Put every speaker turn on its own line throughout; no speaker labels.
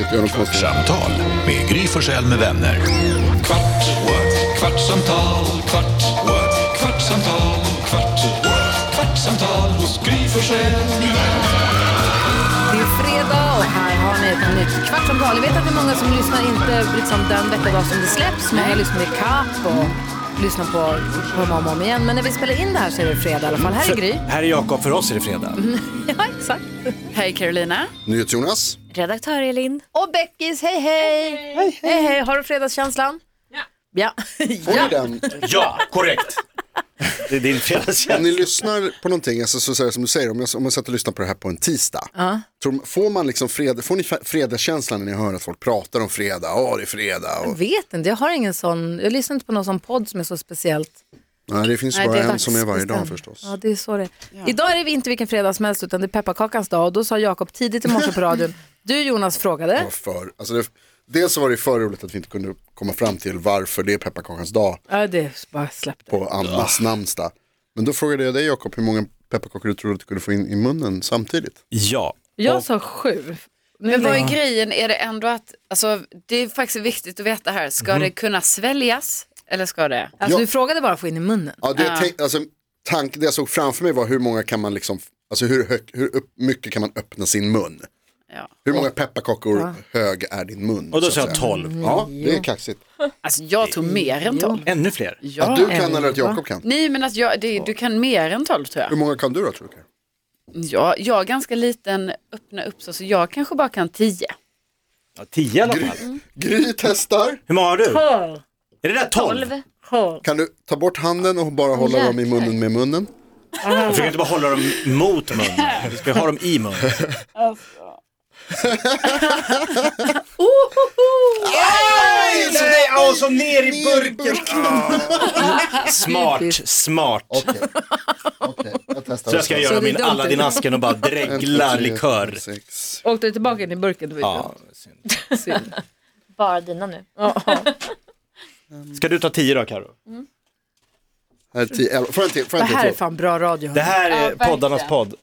Inte göra något konstigt.
Kvartsamtal med Gry Forssell med vänner. Kvart, what? kvartsamtal, kvart, what? kvartsamtal, kvart, what? kvartsamtal hos Gry Forssell med vänner.
Det är fredag och här har ni ett nytt kvartsamtal. Jag vet att det är många som lyssnar inte liksom den veckodag som det släpps, men jag lyssnar i kapp och lyssnar på, på dem om och om igen. Men när vi spelar in det här så är det fredag i alla fall. Här är Gry. Mm-hmm.
Här är Jakob, för oss är det fredag.
Ja, exakt.
Hej Carolina.
NyhetsJonas.
Redaktör Elin.
Och Beckis, hej hej! Hej hej! Har du fredagskänslan? Ja. Ja.
Får ni den?
Ja, korrekt. Det är din
Om
fredagskänsla.
ni lyssnar på någonting, alltså, så, så här, som du säger, om jag, om jag satt och lyssnade på det här på en tisdag. Tror, får, man liksom fred, får ni fe- fredagskänslan när ni hör att folk pratar om fredag? Åh, det är fredag.
Jag
Och,
vet inte, jag har ingen sån, jag lyssnar inte på någon sån podd som är så speciellt.
nej, det finns
Nej,
bara
det är
en som är varje dag
dagsbestämt.
förstås.
Ja, det är så det är. Idag är det inte vilken fredag som helst utan det är pepparkakans dag och då sa Jakob tidigt i morse på radion, du Jonas frågade,
var för, alltså det, dels så var det för roligt att vi inte kunde komma fram till varför det är pepparkakans dag
ja det är bara släpp det.
på Annas namnsdag. Men då frågade jag dig Jakob hur många pepparkakor du trodde att du kunde få in i munnen samtidigt.
Ja.
Jag
Och
sa sju.
Men vad är grejen? Är det ändå att, alltså, det är faktiskt viktigt att veta här, ska det kunna sväljas eller ska det?
Alltså
Ja.
du frågade bara att få in i munnen.
Ja, det, jag tänk, alltså, tank, det jag såg framför mig var hur många kan man liksom, alltså hur, hög, hur upp, mycket kan man öppna sin mun?
Ja.
Hur många pepparkakor hög är din mun?
och då
så
sa
att
jag
säga?
12.
Ja, det är kaxigt.
Alltså jag tror mer än 12.
Ännu fler.
Ja.
att du kan eller att Jakob kan.
Nej men att jag, det, du kan mer än 12 tror
Hur
jag.
många kan du då tror du? Karo?
Ja, jag är ganska liten, öppna upp så, så jag kanske bara kan 10.
Ja, 10 i alla fall.
Gry testar,
Hur många har du? 12. Är det där 12?
kan du ta bort handen och bara hålla dem i munnen med munnen?
Jag försöker inte bara hålla dem mot munnen. Vi ska ha dem i munnen.
Alltså.
Nej, så nej, åh, så ner i burken. Smart, smart.
Okej, Okej, jag testar.
Så jag ska
också.
göra
det är
min
dumt.
Aladdin-asken och bara
En, två,
dregla
tre,
likör.
sex.
Åkte du tillbaka in i burken? Det var ju
Ja, synd.
dumt. Synd.
Bara dina nu.
Ska du ta 10 då, Karo?
Här är tio, elva. Får en till, får
Det
en till.
här är
tror
fan bra radio.
Det här är
verkligen.
poddarnas podd.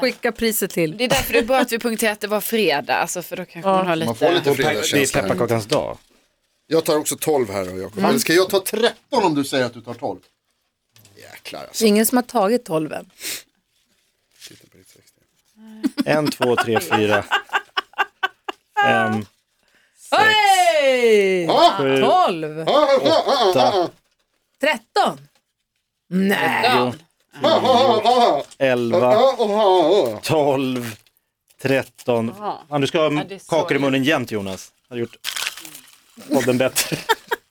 Skicka priset till.
Det är därför det är bra att vi punkterar att det var fredag, alltså, för då kanske man har
jag.
lite...
Man får lite
Det är
fredagskänsla. här.
pepparkakans dag.
Jag tar också 12 här då Jakob. Eller ska jag ta 13 om du säger att du tar 12? Jäklar alltså.
Ingen som har tagit tolven.
En, två, tre, fyra. Fem,
Hej!
Ah,
sju,
Tolv!
ah, ah, ah, ah, ah,
Mm,
Tretton! Nej,
ah, ah, ah,
elva,
ah, ah, ah.
tolv, tretton. Fan, du ska ha
det är så
kakor i munnen jämt Jonas. Har gjort podden bättre.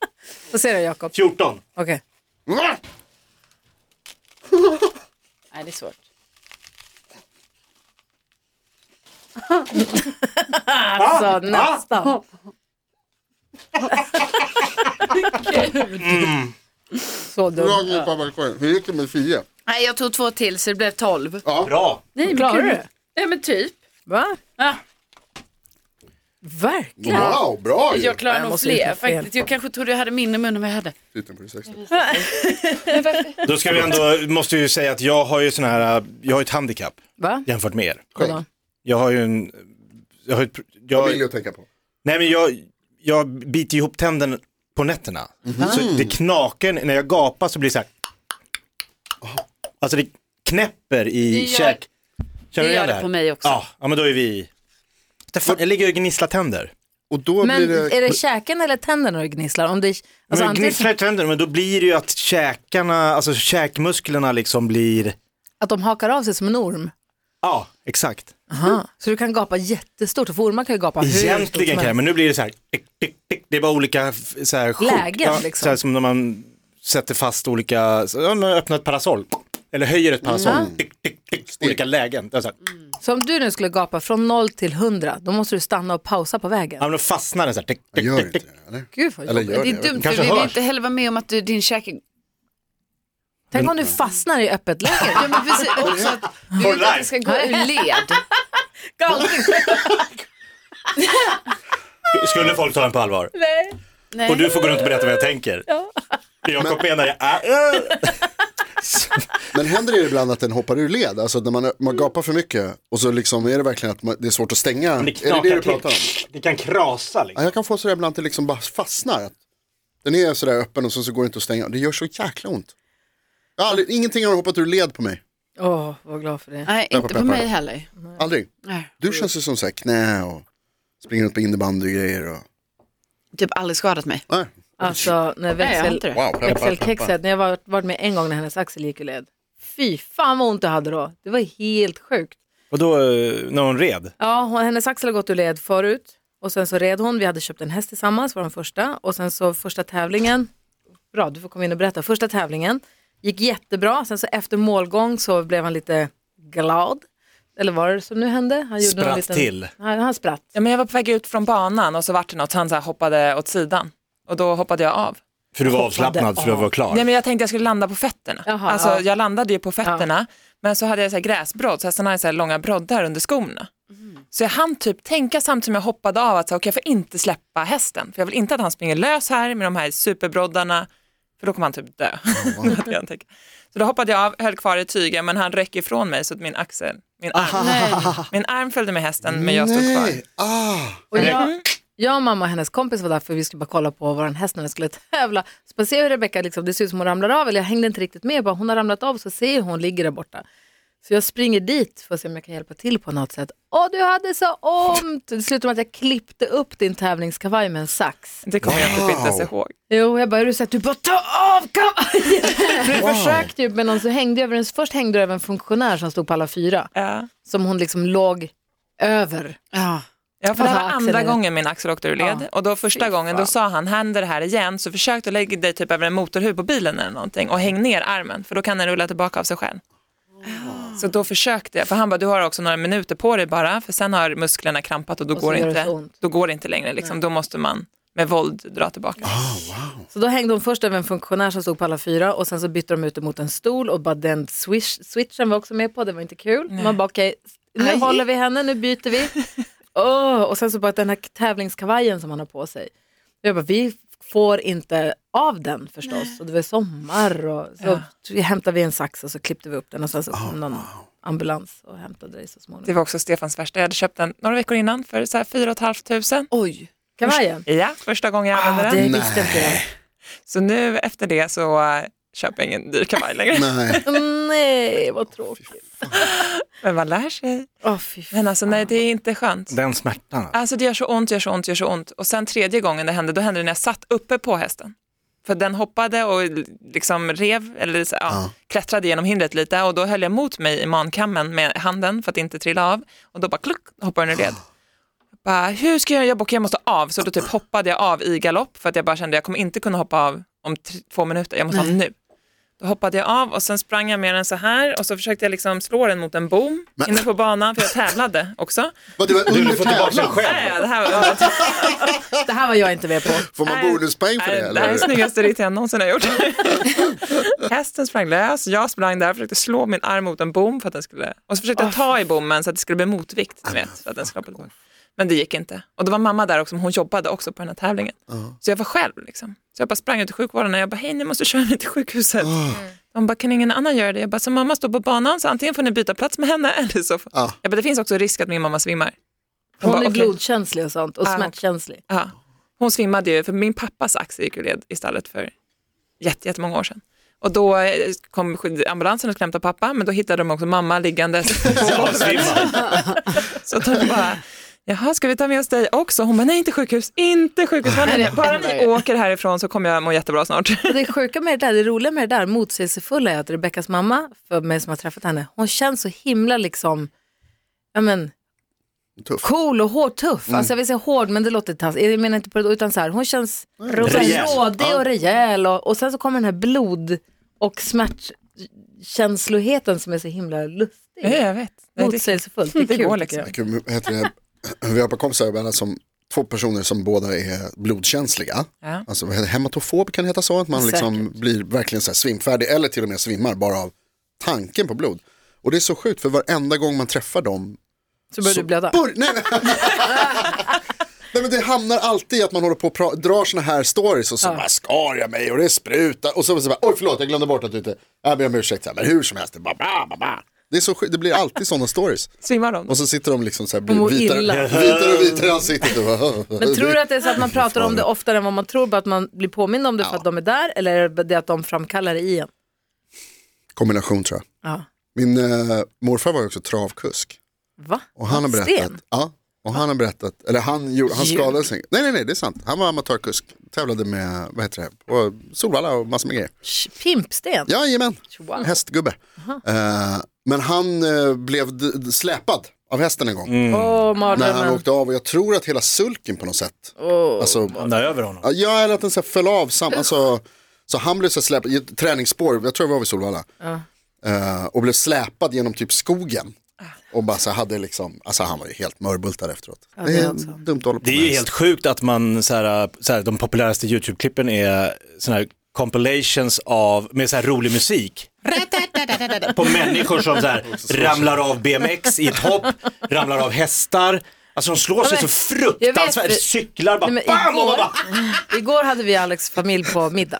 vad säger du Jakob?
Fjorton.
Okej.
Va?
Nej, det är svårt.
Alltså nästan. Så
Bra
dumt.
Gry pepparkorgen. Hur gick det med Fie?
Nej, jag tog två till så det blev 12.
Bra.
Nej,
Klarar du det?
Nej, men typ.
Va?
Ja.
Verkligen.
Wow, bra ju.
Jag klarar
Jag
nog
måste hitta
fler
fel.
faktiskt. Jag kanske trodde jag hade mindre i munnen än vad jag hade.
Titeln på det sexta.
Då ska vi ändå, måste vi ju säga att jag har ju sån här, jag har ett handikapp
Va?
jämfört med er.
Vadå?
Jag har ju en, jag har ett,
Vad vill
jag,
jag tänka på?
nej men jag, jag biter ihop tänden på nätterna. Så det knakar, när jag gapar så blir det så här. Alltså det knäpper i
Det gör-
käk. Känner du
det gör
igen
det
här?
på mig också.
Ja, ja men då är vi, Det fan, jag ligger och gnisslar tänder.
Alltså,
Och då
Men
blir det...
är det käken eller tänderna du gnisslar? Om det, alltså,
men
antingen
gnisslar i tänderna, men då blir det ju att käkarna, alltså käkmusklerna liksom blir,
att de hakar av sig som en orm.
ja exakt.
Aha. Så du kan gapa jättestort, för ormar kan ju gapa hur stort
Egentligen
som
kan jag,
helst.
men nu blir det så här, tick, tick, tick. det är bara olika f- så här, sjok.
Lägen,
ja,
liksom.
Så här, som när man sätter fast olika, så, ja, men öppnar ett parasoll, eller höjer ett parasoll, tick, tick, tick, olika lägen. Det är Så här,
Så om du nu skulle gapa från 0 till 100, då måste du stanna och pausa på vägen.
ja, men då fastnar den så här, tick,
Jag
tick,
gör
tick,
inte
tick.
det, eller?
Gud vad
Eller
jobbigt.
gör det? jag vet
Det är dumt,
inte.
för vi
Kanske
vill ju
hörs.
inte heller vara med om att du, din käke...
Tänk om du fastnar i öppet läge.
Ja, men precis, också att du vill inte att det ska gå ur led.
Skulle folk ta den på allvar?
Nej.
Och du får gå runt och berätta vad jag tänker. Jakob menar jag, äh, äh.
Men händer det ibland att den hoppar ur led? Alltså när man, man gapar för mycket och så liksom är det verkligen att man, det är svårt att stänga? Är
Det
det det du
knakar
pratar om?
till. Det kan krasa
Ja,
liksom.
jag kan få sådär ibland att det liksom bara fastnar. Att Den är sådär öppen och så, så går det inte att stänga. Det gör så jäkla ont. Jag har aldrig, ingenting har hoppat ur led på mig.
Åh, vad glad för det.
Nej, inte på
peppar.
mig heller.
Aldrig.
Nej.
Du känns ju som såhär knä och springer runt på innebandy och grejer. Och...
Typ aldrig skadat mig.
Nej.
Alltså, när
Nej, jag har
växel,
inte det.
Wow, peppar, peppar.
växelkexet, när jag var, varit med en gång när hennes axel gick ur led. Fy fan vad ont jag hade då. Det var helt sjukt.
Och då eh, när hon red?
Ja, hon, hennes axel har gått ur led förut och sen så red hon. Vi hade köpt en häst tillsammans, var den första. Och sen så första tävlingen, bra du får komma in och berätta. Första tävlingen gick jättebra. Sen så efter målgång så blev han lite glad. Eller vad var det som nu hände? Han gjorde någon
Spratt till.
Han, han spratt.
Ja, men jag var på väg ut från banan och så vart det något, han så här hoppade åt sidan och då hoppade jag av.
För du var avslappnad för du var klar.
Nej, men jag tänkte jag skulle landa på fötterna.
Jaha,
alltså,
ja.
Jag landade ju på fötterna men så hade jag så här gräsbrodd, så hästarna hade så här långa broddar under skorna.
Mm.
Så jag hann typ tänka samtidigt som jag hoppade av att så här, okej, jag får inte släppa hästen för jag vill inte att han springer lös här med de här superbroddarna för då kommer han typ dö. Hade jag tänkt. så då hoppade jag av, höll kvar i tygen men han räckte ifrån mig så att min axel, min arm, min arm följde med hästen men jag stod kvar.
Nej, ah.
Och jag, jag och mamma och hennes kompis var där för vi skulle bara kolla på vår häst när den skulle tävla. Så man ser hur Rebecka, liksom, det ser ut som hon ramlar av, eller jag hängde inte riktigt med, Jag bara, hon har ramlat av så ser jag hur hon ligger där borta. Så jag springer dit för att se om jag kan hjälpa till på något sätt. Åh, du hade så ont! Det slutade med att jag klippte upp din tävlingskavaj med en sax.
Det kommer jag typ inte ens ihåg.
Jo, jag bara, är du så att du bara ta av kavajen! För jag försökte ju, men någon så hängde jag över en, först hängde jag över en funktionär som stod på alla fyra,
Ja.
som hon liksom låg över.
Ja.
Ja, för det här
Alltså,
var
axeln
andra
är-
gången min axel åkte ur led. och då första gången då sa han, händer det här igen så försök att lägga dig typ över en motorhuv på bilen eller någonting och häng ner armen för då kan den rulla tillbaka av sig själv.
Oh.
Så då försökte jag, för han bara, du har också några minuter på dig bara för sen har musklerna krampat och då,
Och så
går, det
gör det
inte,
så ont.
då går det inte längre. Liksom. Då måste man med våld dra tillbaka.
Så då hängde hon först över en funktionär som stod på alla fyra och sen så bytte de ut det mot en stol och bara den swish, switchen var också med på, det var inte kul. Man bara okej, nu
Aj.
håller vi henne, nu byter vi. Åh, och sen så bara den här tävlingskavajen som han har på sig. Jag bara, vi får inte av den förstås. Och det var sommar och så hämtade vi en sax och så klippte vi upp den och sen så kom någon ambulans och hämtade dig så småningom.
Det var också Stefans värsta, jag hade köpt den några veckor innan för så här 4 500.
Oj.
Kavajen?
Ja, första gången jag använde
Ah,
den.
det visste inte jag.
Så nu efter det så äh, köper jag ingen dyr kavaj längre.
Nej.
Nej, vad tråkigt.
Men man lär sig.
Åh fy fan.
Men alltså nej, det är inte skönt.
Den smärtan.
Alltså det gör så ont, gör så ont, gör så ont. Och sen tredje gången det hände, då hände det när jag satt uppe på hästen. För den hoppade och liksom rev, eller så, ja, klättrade genom hindret lite och då höll jag mot mig i mankammen med handen för att inte trilla av. Och då bara kluck, hoppade den ur led. Jag Bara, hur ska jag göra? Jag, bara, okej, jag måste av. Så då typ hoppade jag av i galopp för att jag bara kände jag kommer inte kunna hoppa av om t- två minuter, jag måste av nu. Då hoppade jag av och sen sprang jag med den så här och så försökte jag liksom slå den mot en bom inne på banan för jag tävlade också.
Vad, det var
Du,
under
du får tillbaka den
tävlan.
själv.
Nej, det här var
Det här var jag inte med på.
Får man bonuspoäng för det?
Nej, det här är
eller?
snyggaste ritt jag någonsin har gjort. Hästen sprang lös, jag sprang där och försökte slå min arm mot en bom för att den skulle... Och så försökte jag ta i bommen så att det skulle bli motvikt,
Ah,
ni vet, för att den skulle hoppa tillbaka. Men det gick inte. Och då var mamma där också, hon jobbade också på den här tävlingen. Så jag var själv liksom. Så jag bara sprang ut till sjukvården och jag bara, hej ni måste köra mig till
Ah.
sjukhuset. De bara, kan ingen annan göra det? Jag bara, så mamma står på banan så antingen får ni byta plats med henne eller så får...
Ja.
Jag bara, det finns också risk att min mamma svimmar.
Hon
bara,
är
"Okej."
blodkänslig och sånt och
Ah.
smärtkänslig.
Ja. Hon svimmade ju, för min pappas axel gick ur led i stallet för jätte, jättemånga år sedan. Och då eh, kom skyd- ambulansen och skulle hämta pappa, men då hittade de också mamma liggandes. så de bara, jaha, ska vi ta med oss dig också? Hon bara, nej inte sjukhus, inte sjukhus. Men nej, bara ni åker härifrån så kommer jag må jättebra snart.
Och det sjuka med det där, det roliga med det där motsägelsefulla är att Rebeckas mamma, för mig som har träffat henne, hon känns så himla liksom, ja men,
Tuff.
cool och hård, tuff. Alltså jag vill säga hård, men det låter taskigt. Jag menar inte på det, utan så här, hon känns
Rejäl.
rådig och rejäl och, och sen så kommer den här blod och smärtkänsligheten som är så himla lustig.
Ja, jag vet. Nej, det,
Motsägelsefullt, det är
det går
kul.
liksom.
tycker jag.
Gud, vad heter det? Vi har på kompisar ibland som två personer som båda är blodkänsliga.
Ja.
Alltså vad heter det? hematofob kan det heta så, att man liksom blir verkligen så här svimfärdig eller till och med svimmar bara av tanken på blod. Och det är så sjukt för varenda gång man träffar dem
Så börjar du blöda.
Bör- nej, nej. Nej, men det hamnar alltid i att man håller på och pra- drar såna här stories och så bara skar jag mig och det sprutar och så, så bara oj förlåt jag glömde bort att du inte, jag ber om ursäkt så här, men hur som helst, det, bara, bla, bla, bla. det, är så, sjukt, det blir alltid sådana stories.
Svimmar de?
Och så sitter de liksom så här,
mår
blir vitare,
illa.
vitare och vitare i ansiktet. Och bara,
Men tror du att det är så att man pratar om det oftare än vad man tror, bara att man blir påmind om det för att de är där, eller är det att de framkallar det i en?
Kombination tror jag.
Ja.
Min eh, morfar var ju också travkusk.
Va?
Och han har berättat,
Sten?
ja, och han har berättat, eller han, gjorde, han skadade sig. Nej, nej, nej, det är sant. Han var amatörkusk, tävlade med, vad heter det, och Solvalla och massor med grejer.
Sh- Pimpsten?
Jajamän,
Wow.
hästgubbe. Eh, men han eh, blev d- d- släpad av hästen en gång.
Mm. Åh,
När han
mardrömmen.
åkte av och jag tror att hela sulken på något sätt. Alltså,
Vandra över honom.
ja, ja, eller att den så här föll av. Sam, alltså, så han blev så här släpad, i ett träningsspår, jag tror jag var vid Solvalla. Eh, och blev släpad genom typ skogen.
Ah.
Och bara så hade liksom, alltså han var ju helt mörbultad efteråt. det, är dumt att hålla på
Det är
med
ju
häst.
helt sjukt att man, så här, så här, de populäraste YouTube-klippen är såna här compilations av, med så här rolig musik. På människor som så här, ramlar av BMX i ett hopp, ramlar av hästar. Alltså de slår sig så
jag
fruktansvärt,
vet.
cyklar bara
Nej, men
bam och man
igår,
bara "Ah!"
igår hade vi Alex familj på middag.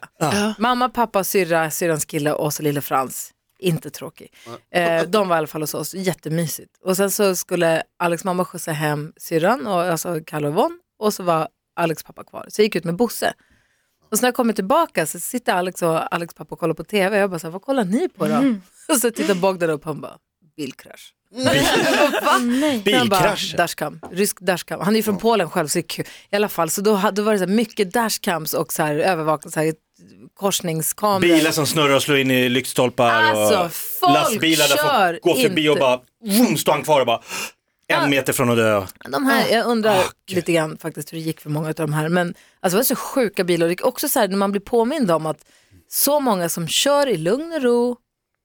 Mamma, pappa, syrra, syrrans kille och så lille Frans. Inte tråkig. Eh, de var i alla fall hos oss, jättemysigt. Och sen så skulle Alex mamma skjutsa hem syrran, och, alltså Kalle och Yvonne, och så var Alex pappa kvar. Så jag gick ut med Bosse. Och så när jag kommer tillbaka så sitter Alex och Alex pappa och kollar på tv. Jag bara så här, vad kollar ni på då? Och så tittar Bogdan upp och han bara, bilkrasch. Va? Han bara,
bilkrasch.
Dashcam, rysk dashcam. Han är ju från Polen själv, så det är kul. I alla fall, så då, ha- då var det så här mycket dashcams och så här övervakning, så här korsningskameror.
Bilar som snurrar och slår in i lyktstolpar
Alltså,
och
folk
lastbilar där
kör
folk går förbi
inte.
och bara vroom, står han kvar och bara en meter från att dö.
De här,
"Ah,
jag undrar lite grann faktiskt hur det gick för många av de här. Men alltså, det var så sjuka bilar. Det gick också så här när man blir påmind om att så många som kör i lugn och ro,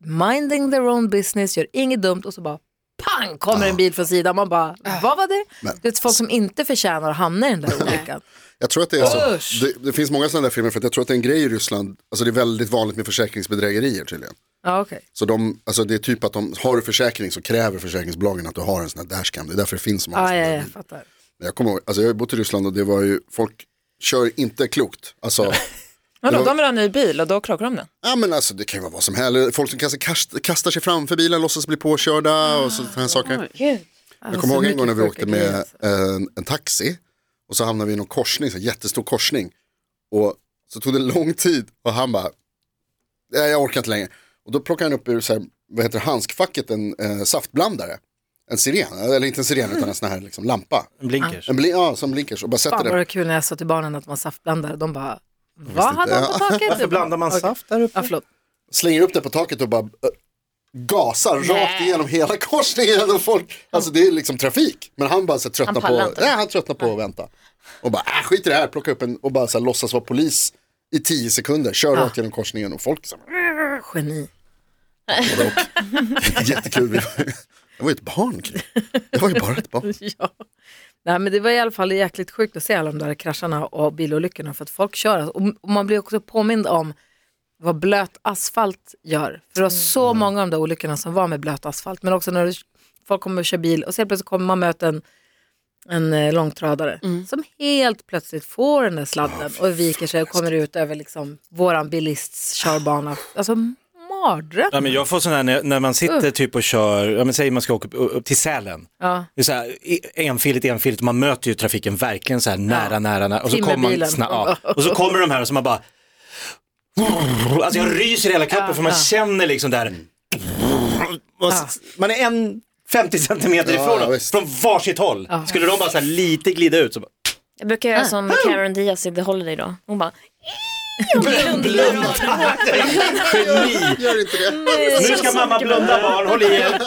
minding their own business, gör inget dumt och så bara pang kommer
Ah.
en bil från sidan. Man bara, vad var det? Det är folk som inte förtjänar att hamna i den där olyckan.
Jag tror att det är
Usch.
så. Det, det finns många sådana där filmer för att jag tror att det är en grej i Ryssland, alltså det är väldigt vanligt med försäkringsbedrägerier tydligen.
Ja, okej.
Så de, alltså det är typ att de, har du försäkring så kräver försäkringsbolagen att du har en sån här dashcam, det är därför det finns så många
Ah, Ja,
såna
ja,
där
ja, jag
bilar.
fattar.
Men Jag kommer ihåg, alltså jag har ju bott i Ryssland och det var ju, folk kör inte klokt. Alltså,
Vadå, de vill ha en ny bil och då krockar de den.
ja men alltså det kan ju vara vad som helst. Folk som kastar, kast- kastar sig framför bilen, låtsas bli påkörda och sådana här saker. Jag kommer
Ah, Alltså, så
ihåg en
mycket
gång när vi
sjuka
åkte
grejer,
med
alltså.
en, en taxi och så hamnade vi i någon korsning, så här jättestor korsning. Och så tog det lång tid och han bara, nej jag orkar inte längre. Och då plockade han upp ur så här, vad heter det, handskfacket en eh, saftblandare. En siren, eller inte en siren utan en sån här liksom, lampa.
En blinkers.
En bli- ja, som blinkers och bara sätter
Fan vad
den.
det kul när jag sa till barnen att man saftblandar. De bara, vad hade
inte.
han på taket? Varför
Blandar man saft där uppe?
Ja, förlåt.
slänger upp det på taket och bara eh, gasar rakt igenom hela korsningen. Och folk, alltså det är liksom trafik. Men han bara så här, tröttnar
pallar
på,
inte.
nej, han tröttnar på att vänta. Och bara, äh, skit i det här, plocka upp en och bara så här, låtsas vara polis i tio sekunder. Kör rakt genom korsningen och folk så här,
Geni.
både och. "Mm, Jättekul. Vi var- Jag var ju ett barn. Gry. Jag var ju bara ett barn.
ja. Nej, men det var i alla fall jäkligt sjukt att se alla de där krascharna och bilolyckorna för att folk kör. Och och man blir också påmind om vad blöt asfalt gör. För det var
Mm.
så många av de där olyckorna som var med blöt asfalt. Men också när du, folk kommer och kör bil och så helt plötsligt kommer man möta en, en eh, långtradare
Mm.
som helt plötsligt får den där sladden och viker sig och kommer ut över liksom våran bilists körbana. Alltså mardröm.
Ja, men jag får sån här när, när man sitter typ och kör, ja, men säg man ska åka upp, upp till Sälen.
Ja.
Det är så här, i- enfiligt, enfiligt, man möter ju trafiken verkligen så här nära, nära, nära. Och så, kommer man
Timmerbilen.
snabbt, ja. och så kommer de här och så man bara, alltså jag ryser i hela kroppen för man känner liksom där, Och s- man är en 50 centimeter ifrån
ja,
dem,
visst.
från varsitt håll. Skulle de bara så här lite glida ut så bara,
Jag brukar
Ah.
göra som Cameron Diaz i The Holiday då. Hon bara,
blunda, geni.
Gör inte det.
Nu ska mamma blunda barn, håll i er.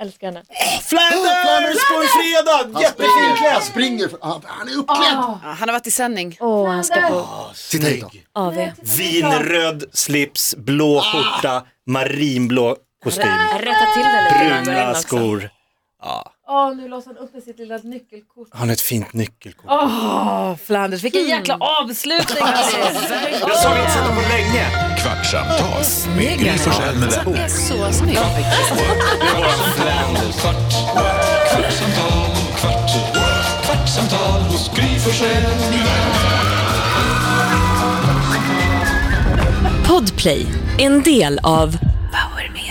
älskar henne.
Flanders på en fredag, jättefin
Han
klädd.
springer, han han är uppklädd.
Ja, han har varit i sändning.
Åh, han ska på
Titta hit då.
AV.
Vinröd slips,
Ah.
blå skjorta, marinblå kostym,
Rätta till det lite. innan vi går in
bruna
också.
skor.
Åh, nu låser han upp med sitt lilla nyckelkort.
Har ni ett fint nyckelkort?
Åh, Flanders, vilken
Mm.
jäkla avslutning! hörni.
Jag såg inte sett dem på länge.
Kvartsamtal med Gry Forssell med vänner.
Det är så snyggt.
Kvartsamtal, kvartsamtal, Forssell med vänner.
Podplay, en del av Power Media.